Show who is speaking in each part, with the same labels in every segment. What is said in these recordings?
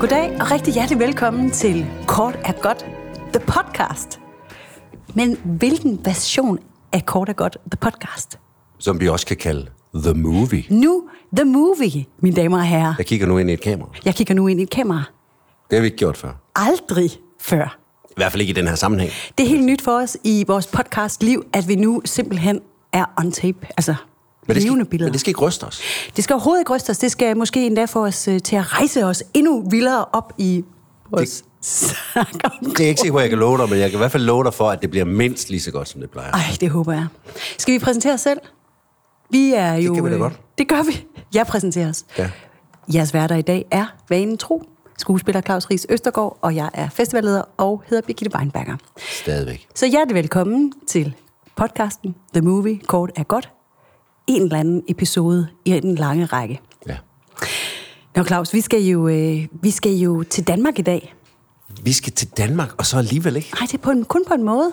Speaker 1: Goddag og rigtig hjertelig velkommen til Kort er godt, the podcast. Men hvilken version af Kort er godt, the podcast?
Speaker 2: som vi også kan kalde The Movie.
Speaker 1: Nu, the movie, mine damer og herrer.
Speaker 2: Jeg kigger nu ind i et kamera.
Speaker 1: Jeg kigger nu ind i et kamera.
Speaker 2: Det har vi ikke gjort før.
Speaker 1: Aldrig før.
Speaker 2: I hvert fald ikke i den her sammenhæng.
Speaker 1: Det er helt nyt for os i vores podcast Liv, at vi nu simpelthen er on tape. Altså,
Speaker 2: Men det,
Speaker 1: levende
Speaker 2: skal,
Speaker 1: billeder.
Speaker 2: men det skal ikke ryste os.
Speaker 1: Det skal overhovedet ikke ryste os. Det skal måske endda få os øh, til at rejse os endnu vildere op i vores snak om
Speaker 2: Det er ikke sikkert, hvor jeg kan love dig, men jeg kan i hvert fald love dig for, at det bliver mindst lige så godt, som det plejer.
Speaker 1: Ej, det håber jeg. Skal vi præsentere os selv? Vi er jo...
Speaker 2: kan vi da
Speaker 1: øh,
Speaker 2: godt.
Speaker 1: Det gør vi. Jeg præsenterer os.
Speaker 2: Ja.
Speaker 1: Jeres værter i dag er Vanen Tro, skuespiller Claus Ries Østergaard, og jeg er festivalleder og hedder Birgitte Weinberger.
Speaker 2: Stadigvæk.
Speaker 1: Så hjertelig velkommen til podcasten The Movie Kort er godt. En eller anden episode i den lange række.
Speaker 2: Ja.
Speaker 1: Nå Claus, vi skal jo, øh, vi skal jo til Danmark i dag.
Speaker 2: Vi skal til Danmark, og så alligevel ikke.
Speaker 1: Nej, det er på en, kun på en måde.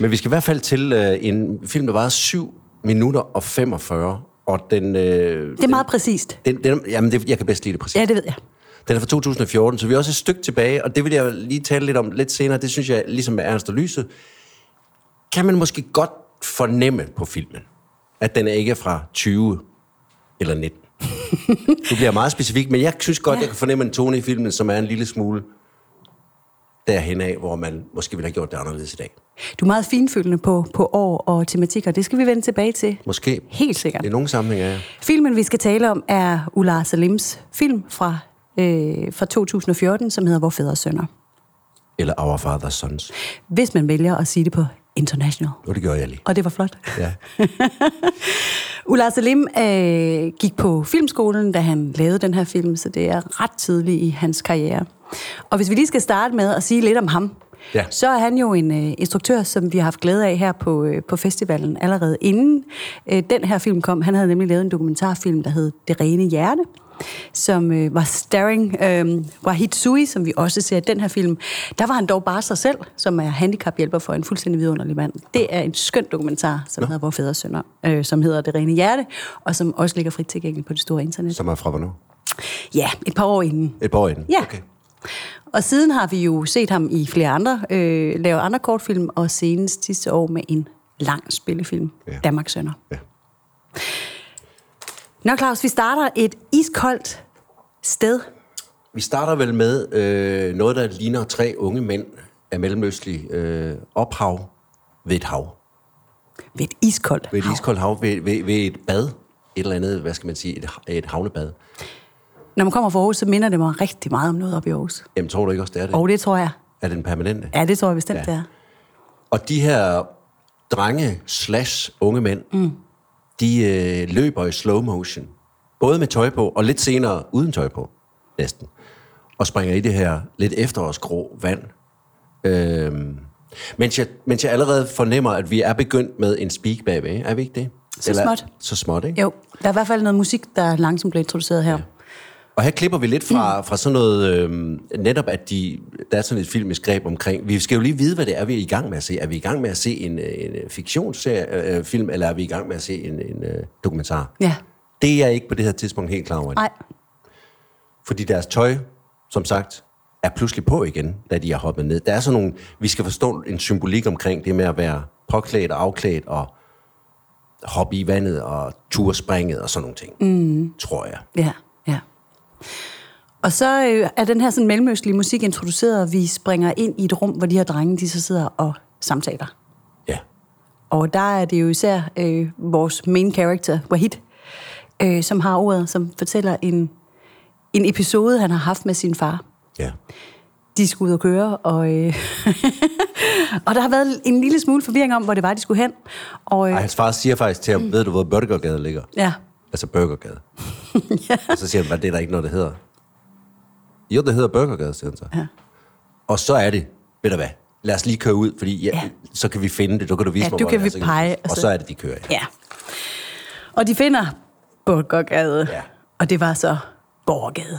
Speaker 2: Men vi skal i hvert fald til øh, en film, der varede 7 minutter og 45. Og den... Øh,
Speaker 1: Det er meget præcist.
Speaker 2: den, den jamen, det, jeg kan bedst lide det præcis.
Speaker 1: Ja, det ved jeg.
Speaker 2: Den er fra 2014, så vi er også et stykke tilbage, og det vil jeg lige tale lidt om lidt senere. Det synes jeg, ligesom med Ernst og Lyse, kan man måske godt fornemme på filmen, at den ikke er fra 20 eller 19. du bliver meget specifik, men jeg synes godt, ja. jeg kan fornemme en tone i filmen, som er en lille smule derhen af, hvor man måske ville have gjort det anderledes i dag.
Speaker 1: Du er meget finfølgende på, på år og tematikker. Det skal vi vende tilbage til.
Speaker 2: Måske.
Speaker 1: Helt sikkert.
Speaker 2: I nogle sammenhænge er jeg.
Speaker 1: Filmen, vi skal tale om, er Ular Salims film fra, øh, fra 2014, som hedder Vor Fædres Sønder.
Speaker 2: Eller Our Father's Sons.
Speaker 1: Hvis man vælger at sige det på international.
Speaker 2: Og det gør jeg lige.
Speaker 1: Og det var flot.
Speaker 2: Ja.
Speaker 1: Ular Salim øh, gik på filmskolen, da han lavede den her film, så det er ret tidligt i hans karriere. Og hvis vi lige skal starte med at sige lidt om ham,
Speaker 2: Ja.
Speaker 1: så er han jo en øh, instruktør, som vi har haft glæde af her på, øh, på festivalen allerede inden øh, den her film kom. Han havde nemlig lavet en dokumentarfilm, der hed Det rene hjerte, som øh, var starring øh, Wahid Sui, som vi også ser i den her film. Der var han dog bare sig selv, som er handicaphjælper for en fuldstændig vidunderlig mand. Det er en skøn dokumentar, som hedder Vor Fædres Sønder, øh, som hedder Det rene hjerte, og som også ligger frit tilgængeligt på det store internet.
Speaker 2: Som er fra hvornår?
Speaker 1: Ja, et par år inden.
Speaker 2: Et par år inden.
Speaker 1: Ja.
Speaker 2: Okay.
Speaker 1: Og siden har vi jo set ham i flere andre, øh, lave andre kortfilm, og senest sidste år med en lang spillefilm, ja.
Speaker 2: Ja.
Speaker 1: Danmarks Sønder.
Speaker 2: Ja.
Speaker 1: Nå Claus, vi starter et iskoldt sted.
Speaker 2: Vi starter vel med øh, noget, der ligner tre unge mænd af mellemøstlig øh, ophav ved et hav.
Speaker 1: Ved et iskoldt
Speaker 2: Ved et
Speaker 1: hav.
Speaker 2: iskoldt hav, ved, ved, ved et bad. Et eller andet, hvad skal man sige, et, ha- et havnebad.
Speaker 1: Når man kommer fra Aarhus, så minder det mig rigtig meget om noget op i Aarhus.
Speaker 2: Jamen, tror du ikke også, det er det?
Speaker 1: Og det tror jeg.
Speaker 2: Er den permanente?
Speaker 1: Ja, det tror jeg bestemt, ja.
Speaker 2: Ja.
Speaker 1: det er.
Speaker 2: Og de her drenge slash unge mænd, mm. de øh, løber i slow motion. Både med tøj på, og lidt senere uden tøj på, næsten. Og springer i det her lidt efterårsgrå vand. Øhm, mens, jeg, mens jeg allerede fornemmer, at vi er begyndt med en speak bagved, ikke? er vi ikke det?
Speaker 1: Så småt.
Speaker 2: Så småt, ikke?
Speaker 1: Jo, der er i hvert fald noget musik, der langsomt bliver introduceret her. Ja.
Speaker 2: Og her klipper vi lidt fra, fra sådan noget, øhm, netop at de, der er sådan et filmisk greb omkring, vi skal jo lige vide, hvad det er, vi er i gang med at se. Er vi i gang med at se en, øh, en øh, fiktionsserie, øh, film, eller er vi i gang med at se en, en øh, dokumentar?
Speaker 1: Ja.
Speaker 2: Det er jeg ikke på det her tidspunkt helt klar over.
Speaker 1: Nej,
Speaker 2: Fordi deres tøj, som sagt, er pludselig på igen, da de er hoppet ned. Der er sådan nogle, vi skal forstå en symbolik omkring det med at være påklædt og afklædt og hoppe i vandet og turspringet og sådan nogle ting, mm. tror jeg.
Speaker 1: ja, ja. Og så øh, er den her sådan mellemøstlige musik introduceret, og vi springer ind i et rum, hvor de her drenge, de så sidder og samtaler.
Speaker 2: Ja.
Speaker 1: Og der er det jo især øh, vores main character, Wahid, øh, som har ordet, som fortæller en, en episode, han har haft med sin far.
Speaker 2: Ja.
Speaker 1: De skulle ud og køre, og, øh, og der har været en lille smule forvirring om, hvor det var, de skulle hen. Og, øh,
Speaker 2: Ej, hans far siger faktisk til ham, mm. ved du, hvor Burgergade ligger?
Speaker 1: ja,
Speaker 2: Altså Burgergade. ja. Og så siger han, hvad det er der ikke noget, der hedder? Jo, det hedder Burgergade, siger han så.
Speaker 1: Ja.
Speaker 2: Og så er det, ved du hvad, lad os lige køre ud, fordi ja,
Speaker 1: Ja.
Speaker 2: ja. så kan vi finde det, så kan du vise
Speaker 1: Ja,
Speaker 2: mig,
Speaker 1: du
Speaker 2: hvor
Speaker 1: kan
Speaker 2: det
Speaker 1: vi
Speaker 2: er, så
Speaker 1: pege, og
Speaker 2: Og
Speaker 1: så-
Speaker 2: så er det, de kører. Ja.
Speaker 1: ja. Og de finder Borgergade,
Speaker 2: Ja.
Speaker 1: og det var så Borgergade.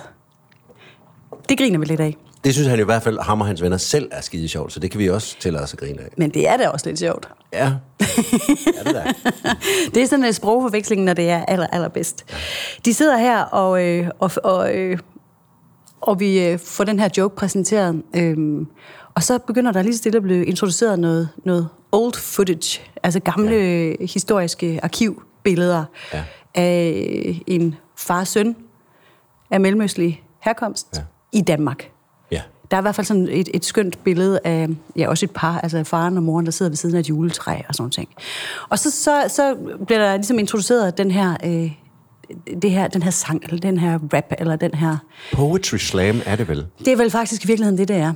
Speaker 1: Det griner vi lidt af.
Speaker 2: Det synes han i hvert fald, ham og hans venner selv er skide sjovt, så det kan vi også tillade os at grine af.
Speaker 1: Men det er da også lidt sjovt.
Speaker 2: Ja, ja det der.
Speaker 1: Det er sådan en sprogforveksling, når det er aller, allerbedst. De sidder her og, øh, og, og, øh, og vi øh, får den her joke præsenteret. Øhm, og så begynder der lige stille at blive introduceret noget, noget old footage, altså gamle ja. historiske arkivbilleder
Speaker 2: Ja.
Speaker 1: af en far-søn af mellemøstlig herkomst
Speaker 2: Ja.
Speaker 1: ja. i Danmark.
Speaker 2: Ja.
Speaker 1: Der er i hvert fald sådan et, et skønt billede af ja, også et par, altså af faren og moren, der sidder ved siden af et juletræ og sådan ting. Og så, så, så bliver der ligesom introduceret den her, øh, det her, den her sang, eller den her rap, eller den her...
Speaker 2: Poetry slam er det vel?
Speaker 1: Det er vel faktisk i virkeligheden det, det er.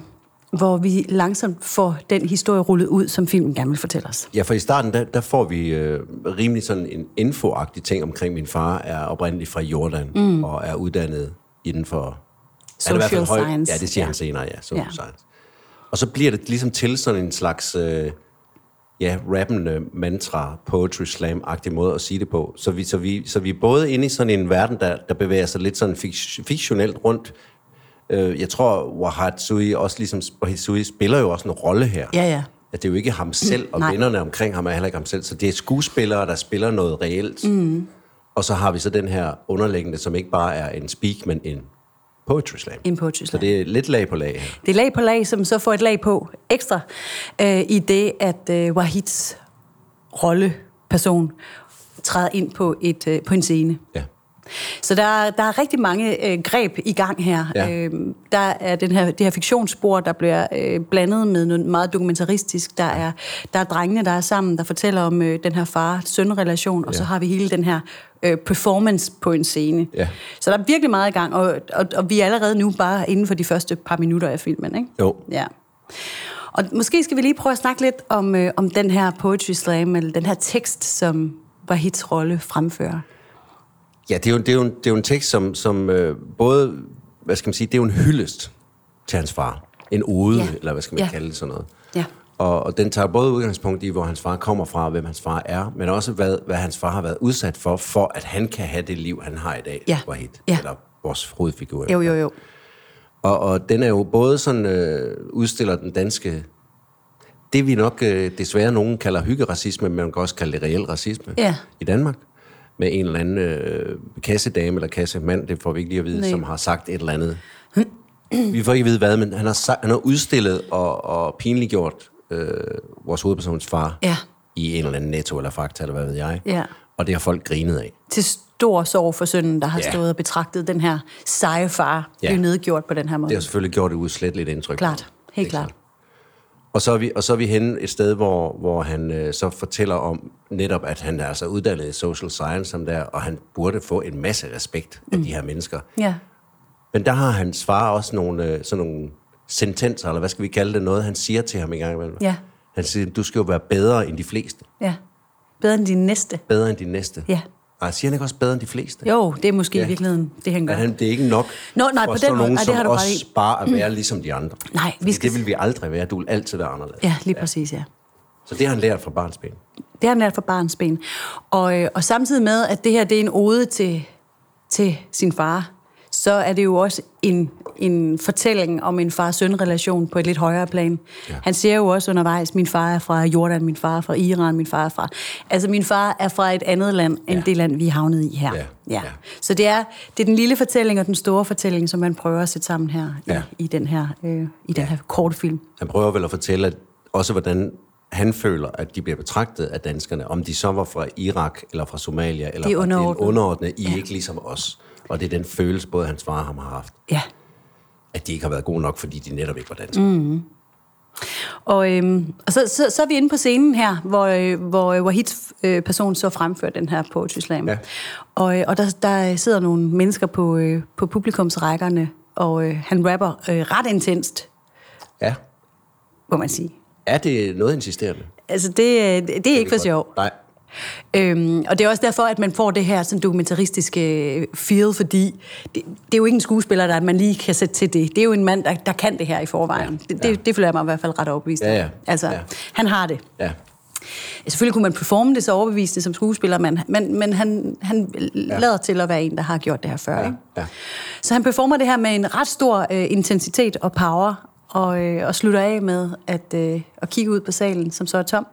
Speaker 1: Hvor vi langsomt får den historie rullet ud, som filmen gerne vil fortælle os.
Speaker 2: Ja, for i starten, der, der får vi øh, rimelig sådan en infoagtig ting omkring, min far er oprindeligt fra Jordan mm. og er uddannet inden for... er det i hvert fald
Speaker 1: Social science.
Speaker 2: Ja, det siger ja. han
Speaker 1: Ja.
Speaker 2: senere, ja. Social ja.
Speaker 1: Ja.
Speaker 2: science. Og så bliver det ligesom til sådan en slags... Øh, ja, rappende mantra, poetry slam-agtig måde at sige det på. Så vi, så vi, så vi er både inde i sådan en verden, der, der bevæger sig lidt sådan fik- fiktionelt rundt. Øh, jeg tror, Wahat Sui også ligesom, Wahat Sui spiller jo også en rolle her.
Speaker 1: Ja, ja.
Speaker 2: At det er jo ikke ham selv, og
Speaker 1: nej.
Speaker 2: vennerne omkring ham er heller ikke ham selv. Så det er skuespillere, der spiller noget reelt. Mm. Og så har vi så den her underliggende, som ikke bare er en speak, men en poetry slam.
Speaker 1: En poetry
Speaker 2: Så
Speaker 1: slam.
Speaker 2: det er lidt lag på lag her.
Speaker 1: Det er lag på lag, som så får et lag på ekstra, øh, i det, at øh, Wahids rolleperson træder ind på, et, øh, på en scene.
Speaker 2: Ja.
Speaker 1: Så der, er- der er rigtig mange øh, greb i gang her.
Speaker 2: Ja.
Speaker 1: Øhm, der er den her, det her fiktionsspor, der bliver øh, blandet med noget meget dokumentaristisk. Der er, der er drengene, der er sammen, der fortæller om øh, den her far-søn-relation, og ja. så har vi hele den her øh, performance på en scene.
Speaker 2: Ja.
Speaker 1: Så der er virkelig meget i gang, og, og, og vi er allerede nu bare inden for de første par minutter af filmen, ikke?
Speaker 2: Jo.
Speaker 1: Ja. Og måske skal vi lige prøve at snakke lidt om, øh, om den her poetry slam, eller den her tekst, som Wahits rolle fremfører.
Speaker 2: Ja, det er jo, det er jo, en, det er jo en tekst, som, som øh, både, hvad skal man sige, det er jo en hyldest til hans far. En ode, ja.
Speaker 1: Ja.
Speaker 2: eller hvad skal man ja.
Speaker 1: Ja.
Speaker 2: kalde det sådan noget.
Speaker 1: Ja.
Speaker 2: Og, og den tager både udgangspunkt i, hvor hans far kommer fra, og hvem hans far er, men også hvad, hvad hans far har været udsat for, for at han kan have det liv, han har i dag,
Speaker 1: Ja.
Speaker 2: Wahid,
Speaker 1: Ja.
Speaker 2: eller vores hovedfigur.
Speaker 1: Jo, jo, jo.
Speaker 2: Og, og den er jo både sådan, øh, udstiller den danske, det vi nok øh, desværre nogen kalder hyggeracisme, men man kan også kalde det reel racisme
Speaker 1: Ja.
Speaker 2: i Danmark, med en eller anden øh, kassedame eller kassemand, det får vi ikke lige at vide,
Speaker 1: Nej.
Speaker 2: Nej. som har sagt et eller andet. vi får ikke at vide hvad, men han har, sagt, han har udstillet og, og pinliggjort øh, vores hovedpersons far
Speaker 1: Ja.
Speaker 2: i en eller anden netto eller fakta, eller hvad ved jeg.
Speaker 1: Ja.
Speaker 2: Og det har folk grinet af.
Speaker 1: Til stor sorg for sønnen, der har
Speaker 2: Ja.
Speaker 1: stået og betragtet den her seje far,
Speaker 2: Ja.
Speaker 1: ja. blive nedgjort på den her måde.
Speaker 2: Det har selvfølgelig gjort et udsletteligt indtryk.
Speaker 1: Klart. Helt
Speaker 2: Ikke sandt?
Speaker 1: klart.
Speaker 2: Og så er vi, og så er vi henne et sted, hvor, hvor han øh, så fortæller om netop, at han er altså uddannet i social science, som der, og han burde få en masse respekt af mm. de her mennesker.
Speaker 1: Ja.
Speaker 2: Men der har hans far også nogle, øh, sådan nogle sentenser, eller hvad skal vi kalde det, noget han siger til ham en gang imellem.
Speaker 1: Ja.
Speaker 2: Han siger, du skal jo være bedre end de fleste.
Speaker 1: ja. Bedre end din næste.
Speaker 2: Bedre end de næste.
Speaker 1: Ja.
Speaker 2: Ej, siger han ikke også bedre end de fleste?
Speaker 1: Jo, det er måske ja.
Speaker 2: Ja.
Speaker 1: i virkeligheden det, han gør.
Speaker 2: Men han, det er ikke nok
Speaker 1: Nå, nej,
Speaker 2: for
Speaker 1: på
Speaker 2: sådan
Speaker 1: den måde.
Speaker 2: nogen,
Speaker 1: Ej, det
Speaker 2: som
Speaker 1: har du ret
Speaker 2: også
Speaker 1: i. Mm.
Speaker 2: bare at være ligesom de andre.
Speaker 1: Nej, vi
Speaker 2: Fordi
Speaker 1: skal-
Speaker 2: Det vil vi aldrig være. Du vil altid være anderledes.
Speaker 1: Ja, lige præcis, ja.
Speaker 2: Så det har han lært fra barnsben.
Speaker 1: Det har han lært fra barns ben. Og, øh, og samtidig med, at det her det er en ode til, til sin far, så er det jo også en, en fortælling om en far-søn-relation på et lidt højere plan.
Speaker 2: Ja.
Speaker 1: Ja. Han siger jo også undervejs, min far er fra Jordan, min far er fra Iran, min far er fra... Altså, min far er fra et andet land, end
Speaker 2: Ja.
Speaker 1: ja. det land, vi er havnet i her.
Speaker 2: Ja,
Speaker 1: Ja.
Speaker 2: ja.
Speaker 1: Ja. Så det er, det er den lille fortælling og den store fortælling, som man prøver at sætte sammen her
Speaker 2: Ja.
Speaker 1: ja. i, i den her, øh, i den her korte film.
Speaker 2: Han prøver vel at fortælle, at også hvordan han føler, at de bliver betragtet af danskerne, om de så var fra Irak, eller fra Somalia, eller
Speaker 1: De er
Speaker 2: fra
Speaker 1: underordnet.
Speaker 2: underordnet, I er ikke ligesom os. Og det er den følelse, både hans far og ham har haft,
Speaker 1: Ja.
Speaker 2: at de ikke har været gode nok, fordi de netop ikke var danske. Mm.
Speaker 1: Og, øhm, og så, så, så er vi inde på scenen her, hvor, øh, hvor øh, Wahids øh, person så fremfører den her poetry slam.
Speaker 2: Ja.
Speaker 1: Og, øh, og der, der sidder nogle mennesker på, øh, på publikumsrækkerne, og øh, han rapper øh, ret intenst,
Speaker 2: Ja.
Speaker 1: må man sige.
Speaker 2: Er det noget insisterende?
Speaker 1: Altså, det, øh, det det er ikke for sjov.
Speaker 2: Nej.
Speaker 1: Øhm, og det er også derfor, at man får det her sådan dokumentaristiske øh, feel, fordi det, det er jo ikke en skuespiller, der man lige kan sætte til det. Det er jo en mand, der, der kan det her i forvejen. Ja,
Speaker 2: Ja,
Speaker 1: det,
Speaker 2: ja.
Speaker 1: det, det føler jeg mig i hvert fald ret overbevist om.
Speaker 2: Ja, ja,
Speaker 1: Altså,
Speaker 2: ja.
Speaker 1: han har det.
Speaker 2: Ja.
Speaker 1: Selvfølgelig kunne man performe det så overbevisende som skuespiller, men, men, men han, han lader til at være en, der har gjort det her før.
Speaker 2: Ja.
Speaker 1: Ikke?
Speaker 2: ja.
Speaker 1: Så han performer det her med en ret stor øh, intensitet og power, og, øh, og slutter af med at, øh, at kigge ud på salen, som så er tom,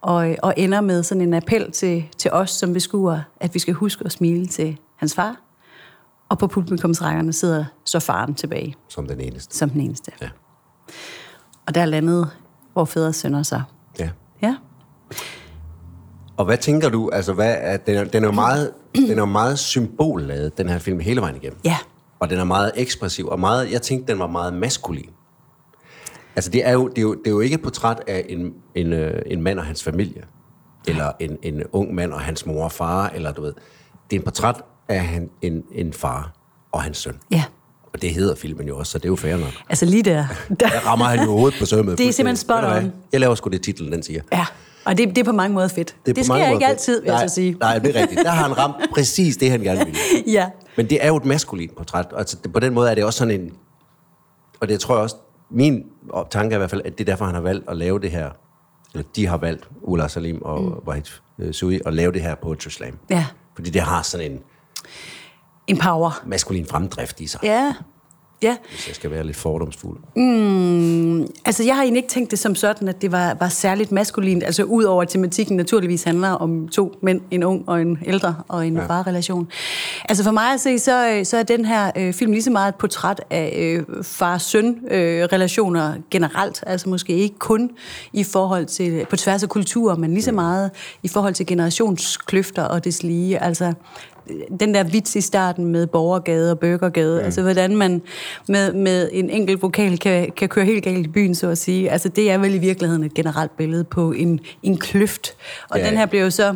Speaker 1: og, øh, og ender med sådan en appel til, til os som beskuer, at vi skal huske at smile til hans far, Og på publikumsrækkerne sidder så faren tilbage
Speaker 2: som den eneste.
Speaker 1: som den eneste.
Speaker 2: Ja.
Speaker 1: Og der landede, hvor fædre sønder sig.
Speaker 2: ja.
Speaker 1: Ja.
Speaker 2: Og hvad tænker du, altså hvad er, den, er, den, er jo meget, den er jo meget symbolladet, den her film, hele vejen igennem.
Speaker 1: Ja.
Speaker 2: Og den er meget ekspressiv, og meget, jeg tænkte, den var meget maskulin. Altså det er jo, det er jo, det er jo ikke et portræt af en, en, øh, en mand og hans familie, eller en, en ung mand og hans mor og far, eller du ved. Det er et portræt af han, en, en far og hans søn.
Speaker 1: Ja.
Speaker 2: Og det hedder filmen jo også, så det er jo fair nok.
Speaker 1: Altså lige der. der.
Speaker 2: Der rammer han jo hovedet på sømmet.
Speaker 1: Det er simpelthen spot
Speaker 2: Ved du hvad?
Speaker 1: on.
Speaker 2: Jeg laver sgu det titel, den siger.
Speaker 1: Ja. Og det, det er på mange måder fedt. Det,
Speaker 2: på
Speaker 1: det sker
Speaker 2: mange
Speaker 1: ikke
Speaker 2: måder-
Speaker 1: altid, vil jeg
Speaker 2: nej,
Speaker 1: så sige.
Speaker 2: Nej, det er rigtigt. Der har han ramt præcis det, han gerne ville.
Speaker 1: Ja.
Speaker 2: Men det er jo et maskulin portræt. og Altså, det, på den måde er det også sådan en... Og det tror jeg også... Min op- tanke er i hvert fald, at det er derfor, han har valgt at lave det her... Eller de har valgt, Ulla Salim og mm. Wahid øh, Sui, at lave det her på et slam.
Speaker 1: Ja.
Speaker 2: Fordi det har sådan en
Speaker 1: En power.
Speaker 2: maskulin fremdrift i sig, ja.
Speaker 1: Ja. Ja.
Speaker 2: hvis jeg skal være lidt fordomsfuld.
Speaker 1: Altså, jeg har egentlig ikke tænkt det som sådan, at det var, var særligt maskulint. Altså, ud over at tematikken naturligvis handler om to mænd, en ung og en ældre, og en ja. farrelation. Altså, for mig at se, så, øh, så er den her øh, film lige så meget et portræt af øh, far-søn-relationer generelt. Altså, måske ikke kun i forhold til, på tværs af kulturer, men lige så meget i forhold til generationskløfter og deslige. Altså, den der vits i starten med borgergade og burgergade, mm. altså hvordan man med, med en enkelt vokal kan, kan køre helt galt i byen, så at sige, altså det er vel i virkeligheden et generelt billede på en, en kløft. Og
Speaker 2: Ja,
Speaker 1: ja, den
Speaker 2: ja.
Speaker 1: her bliver jo så,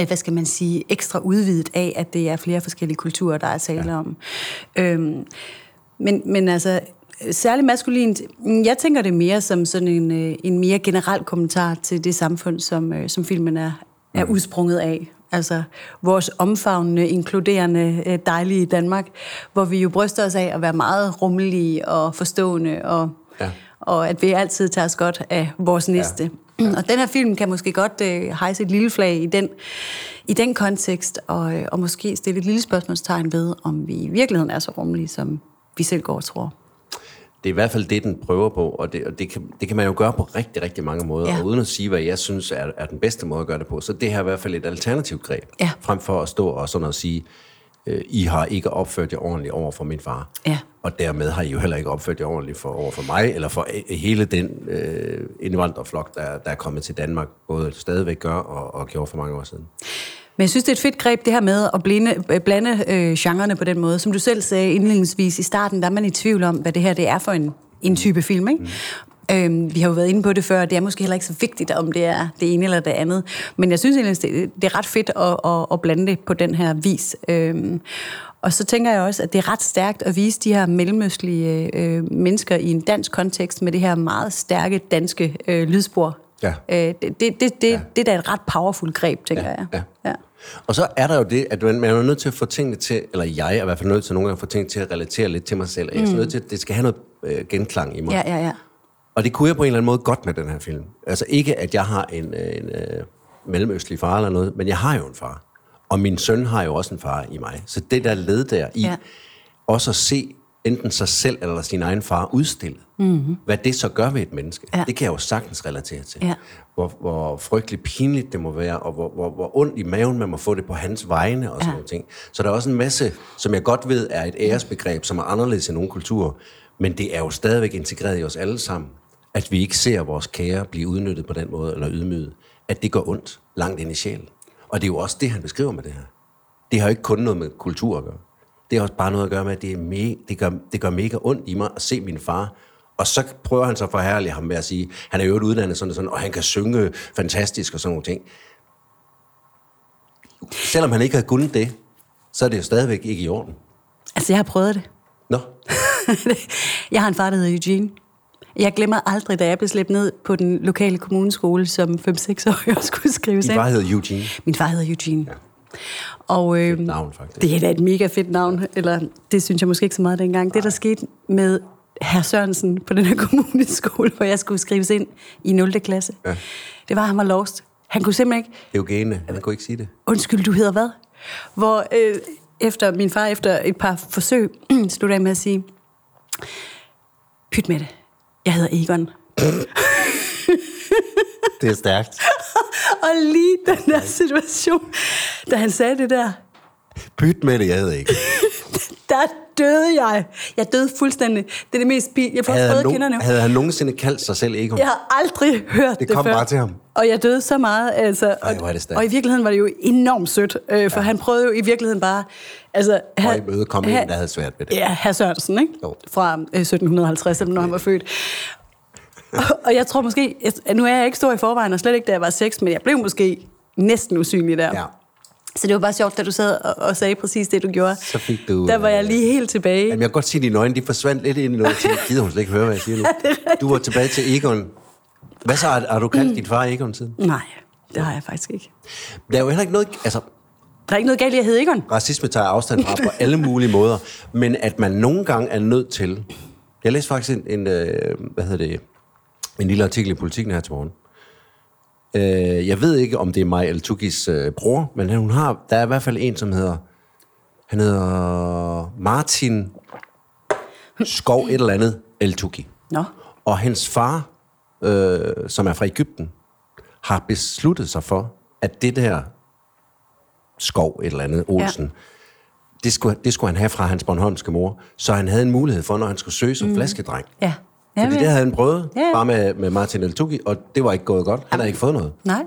Speaker 1: øh, hvad skal man sige, ekstra udvidet af, at det er flere forskellige kulturer, der er tale ja. om. Øhm, men, men altså, øh, særligt maskulint, mm, jeg tænker det mere som sådan en, øh, en mere generel kommentar til det samfund, som, øh, som filmen er, er udsprunget af. Altså vores omfavnende, inkluderende, øh, dejlige Danmark, hvor vi jo bryster os af at være meget rummelige og forstående, og,
Speaker 2: Ja.
Speaker 1: ja. og at vi altid tager os godt af vores næste. Ja. Ja. Og den her film kan måske godt øh, hejse et lille flag i den, i den kontekst, og, øh, og måske stille et lille spørgsmålstegn ved, om vi i virkeligheden er så rummelige, som vi selv går og tror.
Speaker 2: Det er i hvert fald det, den prøver på, og det, og det, kan, det kan man jo gøre på rigtig, rigtig mange måder. Ja.
Speaker 1: Ja.
Speaker 2: Og uden at sige, hvad jeg synes er, er den bedste måde at gøre det på, så det her er i hvert fald et alternativt greb.
Speaker 1: Ja.
Speaker 2: Frem for at stå og sådan at sige, øh, I har ikke opført jer ordentligt over for min far.
Speaker 1: Ja.
Speaker 2: Og dermed har I jo heller ikke opført jer ordentligt for, over for mig, eller for øh, hele den øh, indvandrerflok, der, der er kommet til Danmark, både stadigvæk gør og, og gjorde for mange år siden.
Speaker 1: Men jeg synes, det er et fedt greb, det her med at blinde, øh, blande øh, genrerne på den måde. Som du selv sagde indledningsvis i starten, der er man i tvivl om, hvad det her det er for en, en type film, ikke? Øhm, vi har jo været inde på det før, det er måske heller ikke så vigtigt, om det er det ene eller det andet. Men jeg synes egentlig, det, det er ret fedt at, at, at blande det på den her vis. Øhm, og så tænker jeg også, at det er ret stærkt at vise de her mellemøstlige øh, mennesker i en dansk kontekst med det her meget stærke danske øh, lydspor.
Speaker 2: Ja.
Speaker 1: Øh, det, det, det, det, det er da et ret powerful greb, tænker
Speaker 2: Ja,
Speaker 1: jeg.
Speaker 2: ja.
Speaker 1: ja.
Speaker 2: Og så er der jo det, at man, man er jo nødt til at få tingene til, eller jeg er i hvert fald nødt til nogle gange at få tingene til at relatere lidt til mig selv. Jeg er mm. nødt til, at det skal have noget øh, genklang i mig.
Speaker 1: Ja, ja, ja.
Speaker 2: Og det kunne jeg på en eller anden måde godt med den her film. Altså ikke, at jeg har en, øh, en øh, mellemøstlig far eller noget, men jeg har jo en far. Og min søn har jo også en far i mig. Så det der led der i, ja.
Speaker 1: Ja.
Speaker 2: også at se enten sig selv eller sin egen far udstillet, mm-hmm. hvad det så gør ved et menneske, ja.
Speaker 1: Ja.
Speaker 2: det kan jeg jo sagtens relatere til.
Speaker 1: Ja.
Speaker 2: Hvor, hvor frygteligt pinligt det må være, og hvor, hvor, hvor ondt i maven man må få det på hans vegne og sådan ja.
Speaker 1: Ja.
Speaker 2: nogle ting. Så der er også en masse, som jeg godt ved er et æresbegreb, som er anderledes i nogle kulturer, men det er jo stadigvæk integreret i os alle sammen, at vi ikke ser vores kære blive udnyttet på den måde, eller ydmyget, at det gør ondt langt ind i sjælen. Og det er jo også det, han beskriver med det her. Det har jo ikke kun noget med kultur at gøre. Det har også bare noget at gøre med, at det, er me, det, gør, det gør mega ondt i mig at se min far. Og så prøver han så at forhærlige ham med at sige, han er jo uddannet sådan og sådan, og han kan synge fantastisk og sådan nogle ting. Selvom han ikke har kunnet det, så er det jo stadigvæk ikke i orden.
Speaker 1: Altså, jeg har prøvet det.
Speaker 2: Nå,
Speaker 1: jeg har en far, der hedder Eugene. Jeg glemmer aldrig, da jeg blev slæbt ned på den lokale kommuneskole som 5-6-årig og skulle skrives
Speaker 2: din
Speaker 1: ind.
Speaker 2: far hedder Eugene.
Speaker 1: Min far hedder Eugene. Ja. Og øh,
Speaker 2: Navn, faktisk.
Speaker 1: det er da et mega fedt navn, eller det synes jeg måske ikke så meget dengang. Det, der skete med herr Sørensen på den her kommuneskole, hvor jeg skulle skrives ind i 0. klasse, ja. det var, at han var lost. Han kunne simpelthen ikke
Speaker 2: Eugene, han kunne ikke sige det.
Speaker 1: undskyld, du hedder hvad? Hvor øh, efter min far efter et par forsøg slutter af med at sige, pyt med det, jeg hedder Egon.
Speaker 2: Det er stærkt.
Speaker 1: Og lige den der situation, da han sagde det der,
Speaker 2: Byt med det, jeg hedder ikke.
Speaker 1: Der døde jeg. Jeg døde fuldstændig. Det er det mest pil. Jeg får
Speaker 2: Havde han,
Speaker 1: røde
Speaker 2: nogen,
Speaker 1: kinderne.
Speaker 2: havde han nogensinde kaldt sig selv Egon?
Speaker 1: Jeg har aldrig hørt det
Speaker 2: kom
Speaker 1: før.
Speaker 2: bare til ham.
Speaker 1: Og jeg døde så meget. Altså,
Speaker 2: Ej,
Speaker 1: og,
Speaker 2: hvor er det stærkt.
Speaker 1: og i virkeligheden var det jo enormt sødt, øh, for ja. han prøvede jo i virkeligheden bare... Altså,
Speaker 2: Og
Speaker 1: han-
Speaker 2: imødekom
Speaker 1: han-
Speaker 2: en, der havde svært ved det.
Speaker 1: Ja, Herr Sørensen, ikke?
Speaker 2: Jo.
Speaker 1: Fra øh, 1750, eller når han var født. Og, og jeg tror måske... Jeg, nu er jeg ikke stor i forvejen, og slet ikke da jeg var seks, men jeg blev måske næsten usynlig der.
Speaker 2: Ja.
Speaker 1: Så det var bare sjovt, da du sad og, og sagde præcis det, du gjorde.
Speaker 2: Så fik du,
Speaker 1: Der var
Speaker 2: øh,
Speaker 1: jeg lige helt tilbage.
Speaker 2: Jamen, jeg kan godt se, at dine øjne de forsvandt lidt ind i noget. Jeg tænkte, gider hun slet ikke høre, hvad jeg siger nu. Du var tilbage til Egon. Hvad så? Har, har du kaldt din far Egon siden?
Speaker 1: Nej, det har jeg faktisk ikke.
Speaker 2: Der er jo heller ikke noget... Altså,
Speaker 1: Der er ikke noget galt i at hedde Egon.
Speaker 2: racisme tager jeg afstand fra på alle mulige måder, men at man nogle gange er nødt til... Jeg læste faktisk en, en øh, hvad hedder det, en lille artikel i Politiken her til morgen. Øh, jeg ved ikke, om det er Maj El Tukis øh, bror, men hun har, der er i hvert fald en, som hedder... Han hedder Martin Skov et eller andet El Tuki.
Speaker 1: Nå.
Speaker 2: Og hendes far, øh, som er fra Ægypten, har besluttet sig for, at det der skov, et eller andet, Olsen, ja. det, skulle, det skulle han have fra hans Bornholmske mor, så han havde en mulighed for, når han skulle søge som mm. flaskedreng.
Speaker 1: Ja.
Speaker 2: Fordi
Speaker 1: Jamen,
Speaker 2: det havde han prøvet,
Speaker 1: Ja.
Speaker 2: ja. bare med, med Martin Eltugi, og det var ikke gået godt. Han havde ikke fået noget.
Speaker 1: Nej.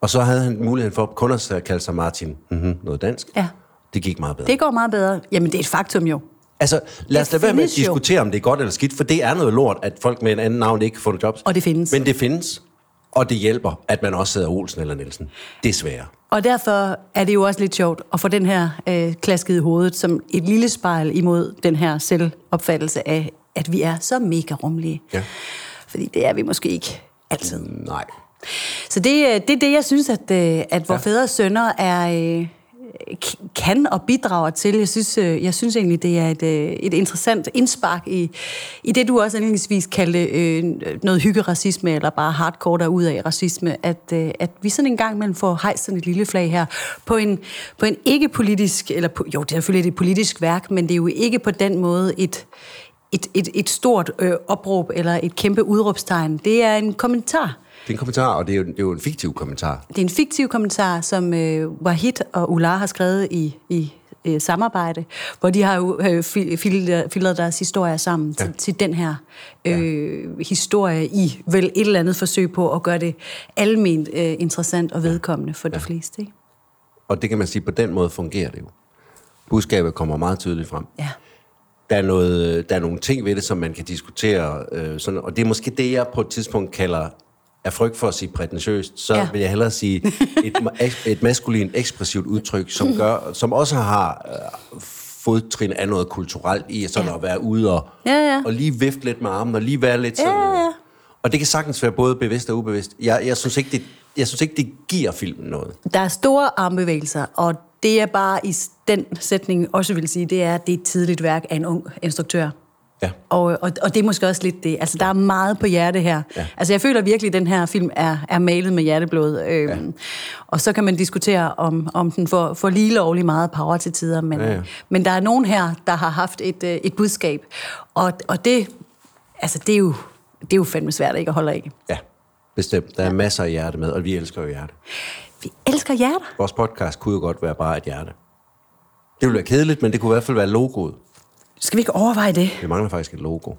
Speaker 2: Og så havde han muligheden for kun at kalde sig Martin mm-hmm, noget dansk.
Speaker 1: Ja.
Speaker 2: Det gik meget bedre.
Speaker 1: Det går meget bedre. Jamen, det er et faktum jo.
Speaker 2: Altså, lad os
Speaker 1: Det
Speaker 2: lade være med at
Speaker 1: findes jo.
Speaker 2: diskutere, om det er godt eller skidt, for det er noget lort, at folk med en anden navn ikke får nogle jobs.
Speaker 1: Og det findes.
Speaker 2: Men det findes, og det hjælper, at man også hedder Olsen eller Nielsen. Desværre.
Speaker 1: Og derfor er det jo også lidt sjovt at få den her øh, klasket i hovedet som et lille spejl imod den her selvopfattelse af, at vi er så mega rummelige.
Speaker 2: Ja.
Speaker 1: Fordi det er vi måske ikke altid.
Speaker 2: Nej.
Speaker 1: Så det, øh, det er det, jeg synes, at, øh, at vores ja. fædre og sønner er, øh, k- kan og bidrager til. Jeg synes, øh, jeg synes egentlig, det er et, øh, et interessant indspark i, i det, du også indlændingsvis kaldte øh, noget hyggeracisme, eller bare hardcore der ud af racisme, at, øh, at vi sådan en gang imellem får hejst sådan et lille flag her på en, på en ikke-politisk, eller på, jo, det er selvfølgelig et politisk værk, men det er jo ikke på den måde et, et, et, et stort øh, opråb eller et kæmpe udråbstegn. Det er en kommentar.
Speaker 2: Det er en kommentar, og det er jo, det er jo en fiktiv kommentar.
Speaker 1: Det er en fiktiv kommentar, som øh, Wahid og Ular har skrevet i, i øh, samarbejde, hvor de har jo øh, fil- filter- filtret deres historier sammen ja. til, til den her øh, historie i vel et eller andet forsøg på at gøre det alment øh, interessant og vedkommende for de fleste. Ikke?
Speaker 2: Og det kan man sige, på den måde fungerer det jo. Budskabet kommer meget tydeligt frem.
Speaker 1: Ja.
Speaker 2: Der er, noget, der er nogle ting ved det, som man kan diskutere, øh, sådan, og det er måske det, jeg på et tidspunkt kalder af frygt for at sige prætentiøst, så
Speaker 1: Ja.
Speaker 2: ja. vil jeg hellere sige et, ma- eks- et maskulin ekspressivt udtryk, som,
Speaker 1: Mhm.
Speaker 2: gør, som også har øh, fodtrin af noget kulturelt i, sådan
Speaker 1: Ja.
Speaker 2: ja. at være ude og,
Speaker 1: Ja, ja.
Speaker 2: og lige vifte lidt med armen, og lige være lidt sådan...
Speaker 1: Ja, ja.
Speaker 2: Og det kan sagtens være både bevidst og ubevidst. Jeg, jeg, synes ikke, det, jeg synes ikke, det giver filmen noget.
Speaker 1: Der er store armbevægelser, og det jeg bare i s- den sætning også vil sige, det er, at det er et tidligt værk af en ung instruktør.
Speaker 2: Ja.
Speaker 1: Og, og, og det er måske også lidt det. Altså, der er meget på hjerte her. Ja.
Speaker 2: Ja.
Speaker 1: Altså, jeg føler virkelig, at den her film er, er malet med hjerteblod. Øhm, ja. Og så kan man diskutere, om, om den får, får lige lovlig meget power til tider. Men, ja,
Speaker 2: Ja,
Speaker 1: ja.
Speaker 2: ja.
Speaker 1: men der er nogen her, der har haft et, øh, et budskab. Og, og det, altså, det, er jo, det er jo fandme svært ikke at holde af.
Speaker 2: Ja, bestemt. Der er masser af hjerte med, og vi elsker jo hjerte.
Speaker 1: Vi elsker hjerter.
Speaker 2: Vores podcast kunne jo godt være bare et hjerte. Det ville være kedeligt, men det kunne i hvert fald være logoet.
Speaker 1: Skal vi ikke overveje det?
Speaker 2: Vi mangler faktisk et logo.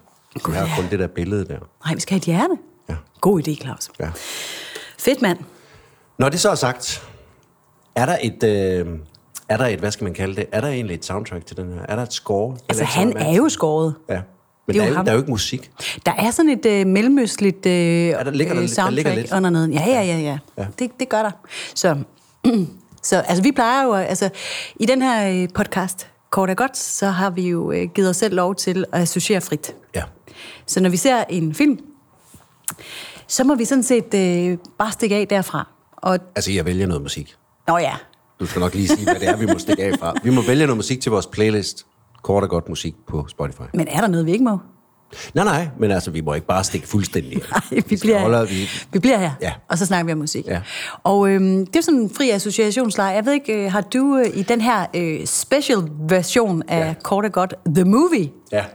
Speaker 1: Gud,
Speaker 2: Vi har
Speaker 1: ja.
Speaker 2: kun det der billede der.
Speaker 1: Nej, vi skal have et hjerte.
Speaker 2: Ja.
Speaker 1: God idé, Claus.
Speaker 2: ja.
Speaker 1: Fedt, mand.
Speaker 2: Når det så er sagt, er der et... Øh, er der et, hvad skal man kalde det? Er der egentlig et soundtrack til den her? Er der et score?
Speaker 1: Altså,
Speaker 2: Eller et
Speaker 1: han
Speaker 2: soundtrack?
Speaker 1: er jo skåret.
Speaker 2: Ja. Men
Speaker 1: Det er
Speaker 2: det
Speaker 1: jo
Speaker 2: er der, er jo,
Speaker 1: ham.
Speaker 2: der er jo ikke musik.
Speaker 1: Der er sådan et øh, mellemøstligt øh, ja,
Speaker 2: der ligger der lidt- der
Speaker 1: soundtrack
Speaker 2: ligger lidt.
Speaker 1: under neden. Ja, ja, ja. ja. ja.
Speaker 2: Ja.
Speaker 1: Det, det gør der. Så, så altså, vi plejer jo... Altså, I den her øh, podcast, Kort og Godt, så har vi jo øh, givet os selv lov til at associere frit.
Speaker 2: Ja.
Speaker 1: Så når vi ser en film, så må vi sådan set øh, bare stikke af derfra. Og,
Speaker 2: Altså, jeg vælger noget musik.
Speaker 1: nå ja,
Speaker 2: Du skal nok lige sige, hvad det er, vi må stikke af fra. Vi må vælge noget musik til vores playlist. Kort og godt musik på Spotify.
Speaker 1: men er der noget, vi ikke må?
Speaker 2: Nej, nej, men altså, vi må ikke bare stikke fuldstændig. af.
Speaker 1: Nej, vi
Speaker 2: skal
Speaker 1: bliver,
Speaker 2: holde-
Speaker 1: holde, vi...
Speaker 2: vi-
Speaker 1: vi bliver her, ja.
Speaker 2: Ja.
Speaker 1: og så snakker vi om musik.
Speaker 2: Ja.
Speaker 1: Og øhm, det er sådan en fri associationsleje. Jeg ved ikke, øh, har du øh, i den her øh, special version af ja.
Speaker 2: Ja.
Speaker 1: Kort og Godt The Movie?
Speaker 2: Ja.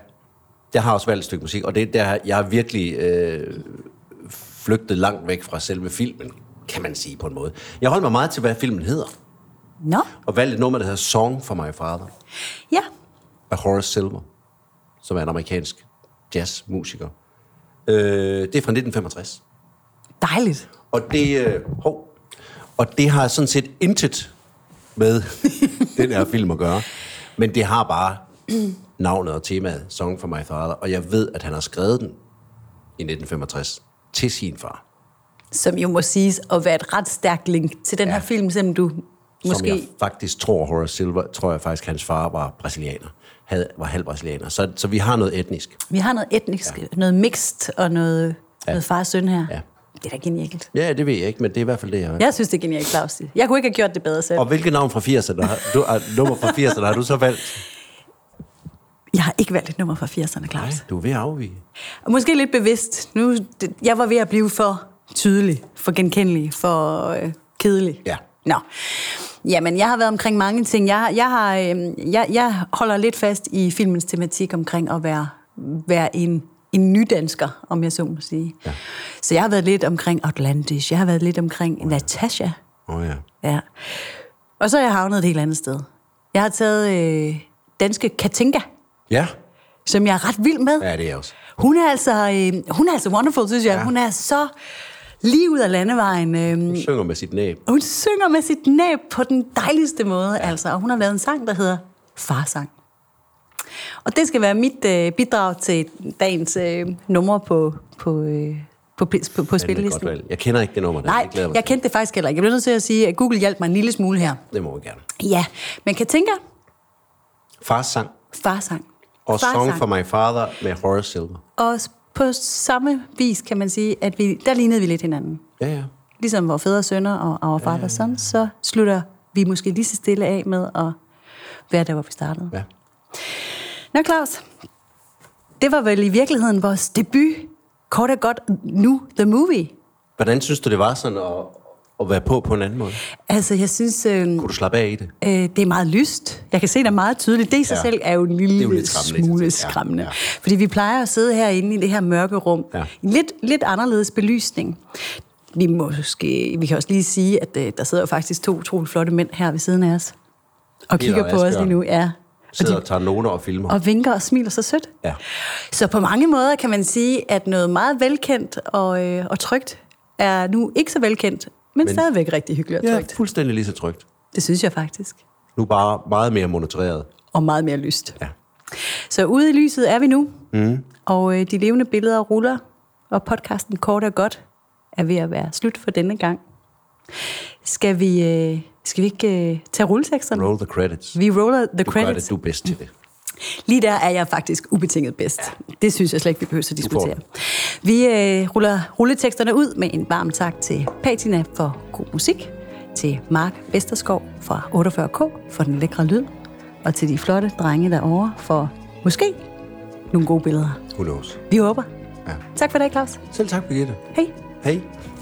Speaker 2: Jeg har også valgt et stykke musik, og det er der, jeg har virkelig øh, flygtet langt væk fra selve filmen, kan man sige på en måde. Jeg holdt mig meget til, hvad filmen hedder,
Speaker 1: Nå,
Speaker 2: og valgte et nummer, der hedder Song for My Father.
Speaker 1: ja.
Speaker 2: af Horace Silver, som er en amerikansk jazzmusiker. Øh, det er fra 1965.
Speaker 1: Dejligt.
Speaker 2: Og det, øh, hov, og det har sådan set intet med den her film at gøre. Men det har bare navnet og temaet Song for My Father. Og jeg ved, at han har skrevet den i 1965 til sin far.
Speaker 1: Som jo må siges at være et ret stærkt link til den ja. her film, selvom du
Speaker 2: Måske. Som jeg
Speaker 1: måske...
Speaker 2: faktisk tror, Horace Silver, tror jeg faktisk, hans far var brasilianer. Havde, var halv brasilianer. Så, så vi har noget etnisk.
Speaker 1: Vi har noget etnisk, ja. noget mixed og noget, ja. noget far og søn her.
Speaker 2: Ja.
Speaker 1: Det er da genialt.
Speaker 2: Ja, det ved jeg ikke, men det er i hvert fald det, jeg
Speaker 1: Jeg synes, det er genialt, Claus. Jeg kunne ikke have gjort det bedre selv.
Speaker 2: Og hvilke navn fra 80'erne har du, uh, nummer fra 80'erne har du så valgt?
Speaker 1: Jeg har ikke valgt et nummer fra 80'erne, Claus.
Speaker 2: Du er ved at afvige.
Speaker 1: Og Måske lidt bevidst. Nu, det, jeg var ved at blive for tydelig, for genkendelig, for øh, kedelig.
Speaker 2: Ja.
Speaker 1: Nå. Jamen, jeg har været omkring mange ting. Jeg, jeg, har, øh, jeg, jeg holder lidt fast i filmens tematik omkring at være, være en, en nydansker, om jeg så må sige. Ja. Så jeg har været lidt omkring Atlantis. Jeg har været lidt omkring ja. Natasha.
Speaker 2: Åh oh, ja.
Speaker 1: Ja. Og så er jeg havnet et helt andet sted. Jeg har taget øh, danske Katinka,
Speaker 2: Ja.
Speaker 1: som jeg er ret vild med.
Speaker 2: Ja, det er jeg også.
Speaker 1: Hun er altså, øh, hun er altså wonderful, synes jeg.
Speaker 2: Ja.
Speaker 1: Ja. Hun er så lige ud af landevejen. Øh,
Speaker 2: Hun synger med sit næb.
Speaker 1: hun synger med sit næb på den dejligste måde, ja. altså. Og hun har lavet en sang, der hedder Farsang. Og det skal være mit øh, bidrag til dagens øh, numre på, på, øh, på, på, på, på
Speaker 2: Ja, det er et godt
Speaker 1: spillelisten.
Speaker 2: valg. Jeg kender ikke det nummer. der.
Speaker 1: Nej,
Speaker 2: jeg glæder mig
Speaker 1: jeg
Speaker 2: til.
Speaker 1: kendte det faktisk heller ikke. Jeg bliver nødt til at sige, at Google hjalp mig en lille smule her.
Speaker 2: Det må vi gerne.
Speaker 1: Ja, men kan tænke
Speaker 2: Fars sang
Speaker 1: farsang.
Speaker 2: og
Speaker 1: Farsang.
Speaker 2: Song for My Father med Horace Silver.
Speaker 1: Og på samme vis kan man sige, at vi, der lignede vi lidt hinanden.
Speaker 2: Ja, ja.
Speaker 1: Ligesom vores fædre og sønner og our father son, så slutter vi måske lige så stille af med at være der, hvor vi startede.
Speaker 2: ja.
Speaker 1: Nå Claus, det var vel i virkeligheden vores debut, kort og godt nu, The Movie.
Speaker 2: Hvordan synes du, det var sådan at, at være på på en anden måde?
Speaker 1: Altså, jeg synes, øh, øh,
Speaker 2: Kunne du slappe af i det?
Speaker 1: det er meget lyst. Jeg kan se, der er meget tydeligt. Det i sig
Speaker 2: Ja.
Speaker 1: ja. selv er jo en lille
Speaker 2: Det er jo lidt skræmmende i sig
Speaker 1: smule
Speaker 2: selv. Ja,
Speaker 1: skræmmende.
Speaker 2: ja.
Speaker 1: Ja. Fordi vi plejer at sidde herinde i det her mørke rum.
Speaker 2: Ja.
Speaker 1: Ja. Lidt, lidt anderledes belysning. Vi, må måske, vi kan også lige sige, at øh, der sidder jo faktisk to utrolig flotte mænd her ved siden af os. Og
Speaker 2: Peter
Speaker 1: kigger
Speaker 2: og
Speaker 1: på os lige
Speaker 2: Asbjørn.
Speaker 1: nu. Ja. Og,
Speaker 2: Sidder
Speaker 1: de,
Speaker 2: og tager noter og filmer.
Speaker 1: og vinker og smiler så sødt.
Speaker 2: Ja.
Speaker 1: Så på mange måder kan man sige, at noget meget velkendt og, øh, og trygt er nu ikke så velkendt, men, men stadigvæk rigtig hyggeligt og
Speaker 2: Ja,
Speaker 1: trygt. Ja.
Speaker 2: fuldstændig lige så trygt.
Speaker 1: Det synes jeg faktisk.
Speaker 2: Nu bare meget mere monitoreret.
Speaker 1: Og meget mere lyst.
Speaker 2: Ja.
Speaker 1: Så ude i lyset er vi nu, mm. og øh, de levende billeder ruller, og podcasten Kort og Godt er ved at være slut for denne gang. Skal vi, øh, skal vi ikke øh, tage rulleteksterne?
Speaker 2: Roll the credits.
Speaker 1: Vi roller the
Speaker 2: Du gør
Speaker 1: Mm. credits.
Speaker 2: det, du er bedst til det.
Speaker 1: Lige der er jeg faktisk ubetinget bedst. Ja. Det synes jeg slet ikke, vi behøver at
Speaker 2: får
Speaker 1: diskutere. Vi øh, ruller rulleteksterne ud med en varm tak til Patina for god musik, til Mark Vesterskov fra 48K for den lækre lyd, og til de flotte drenge derovre for måske nogle gode billeder.
Speaker 2: Who knows?
Speaker 1: Vi håber.
Speaker 2: Ja.
Speaker 1: Tak for i dag, Claus.
Speaker 2: Selv tak, Birgitte.
Speaker 1: Hej.
Speaker 2: Hej.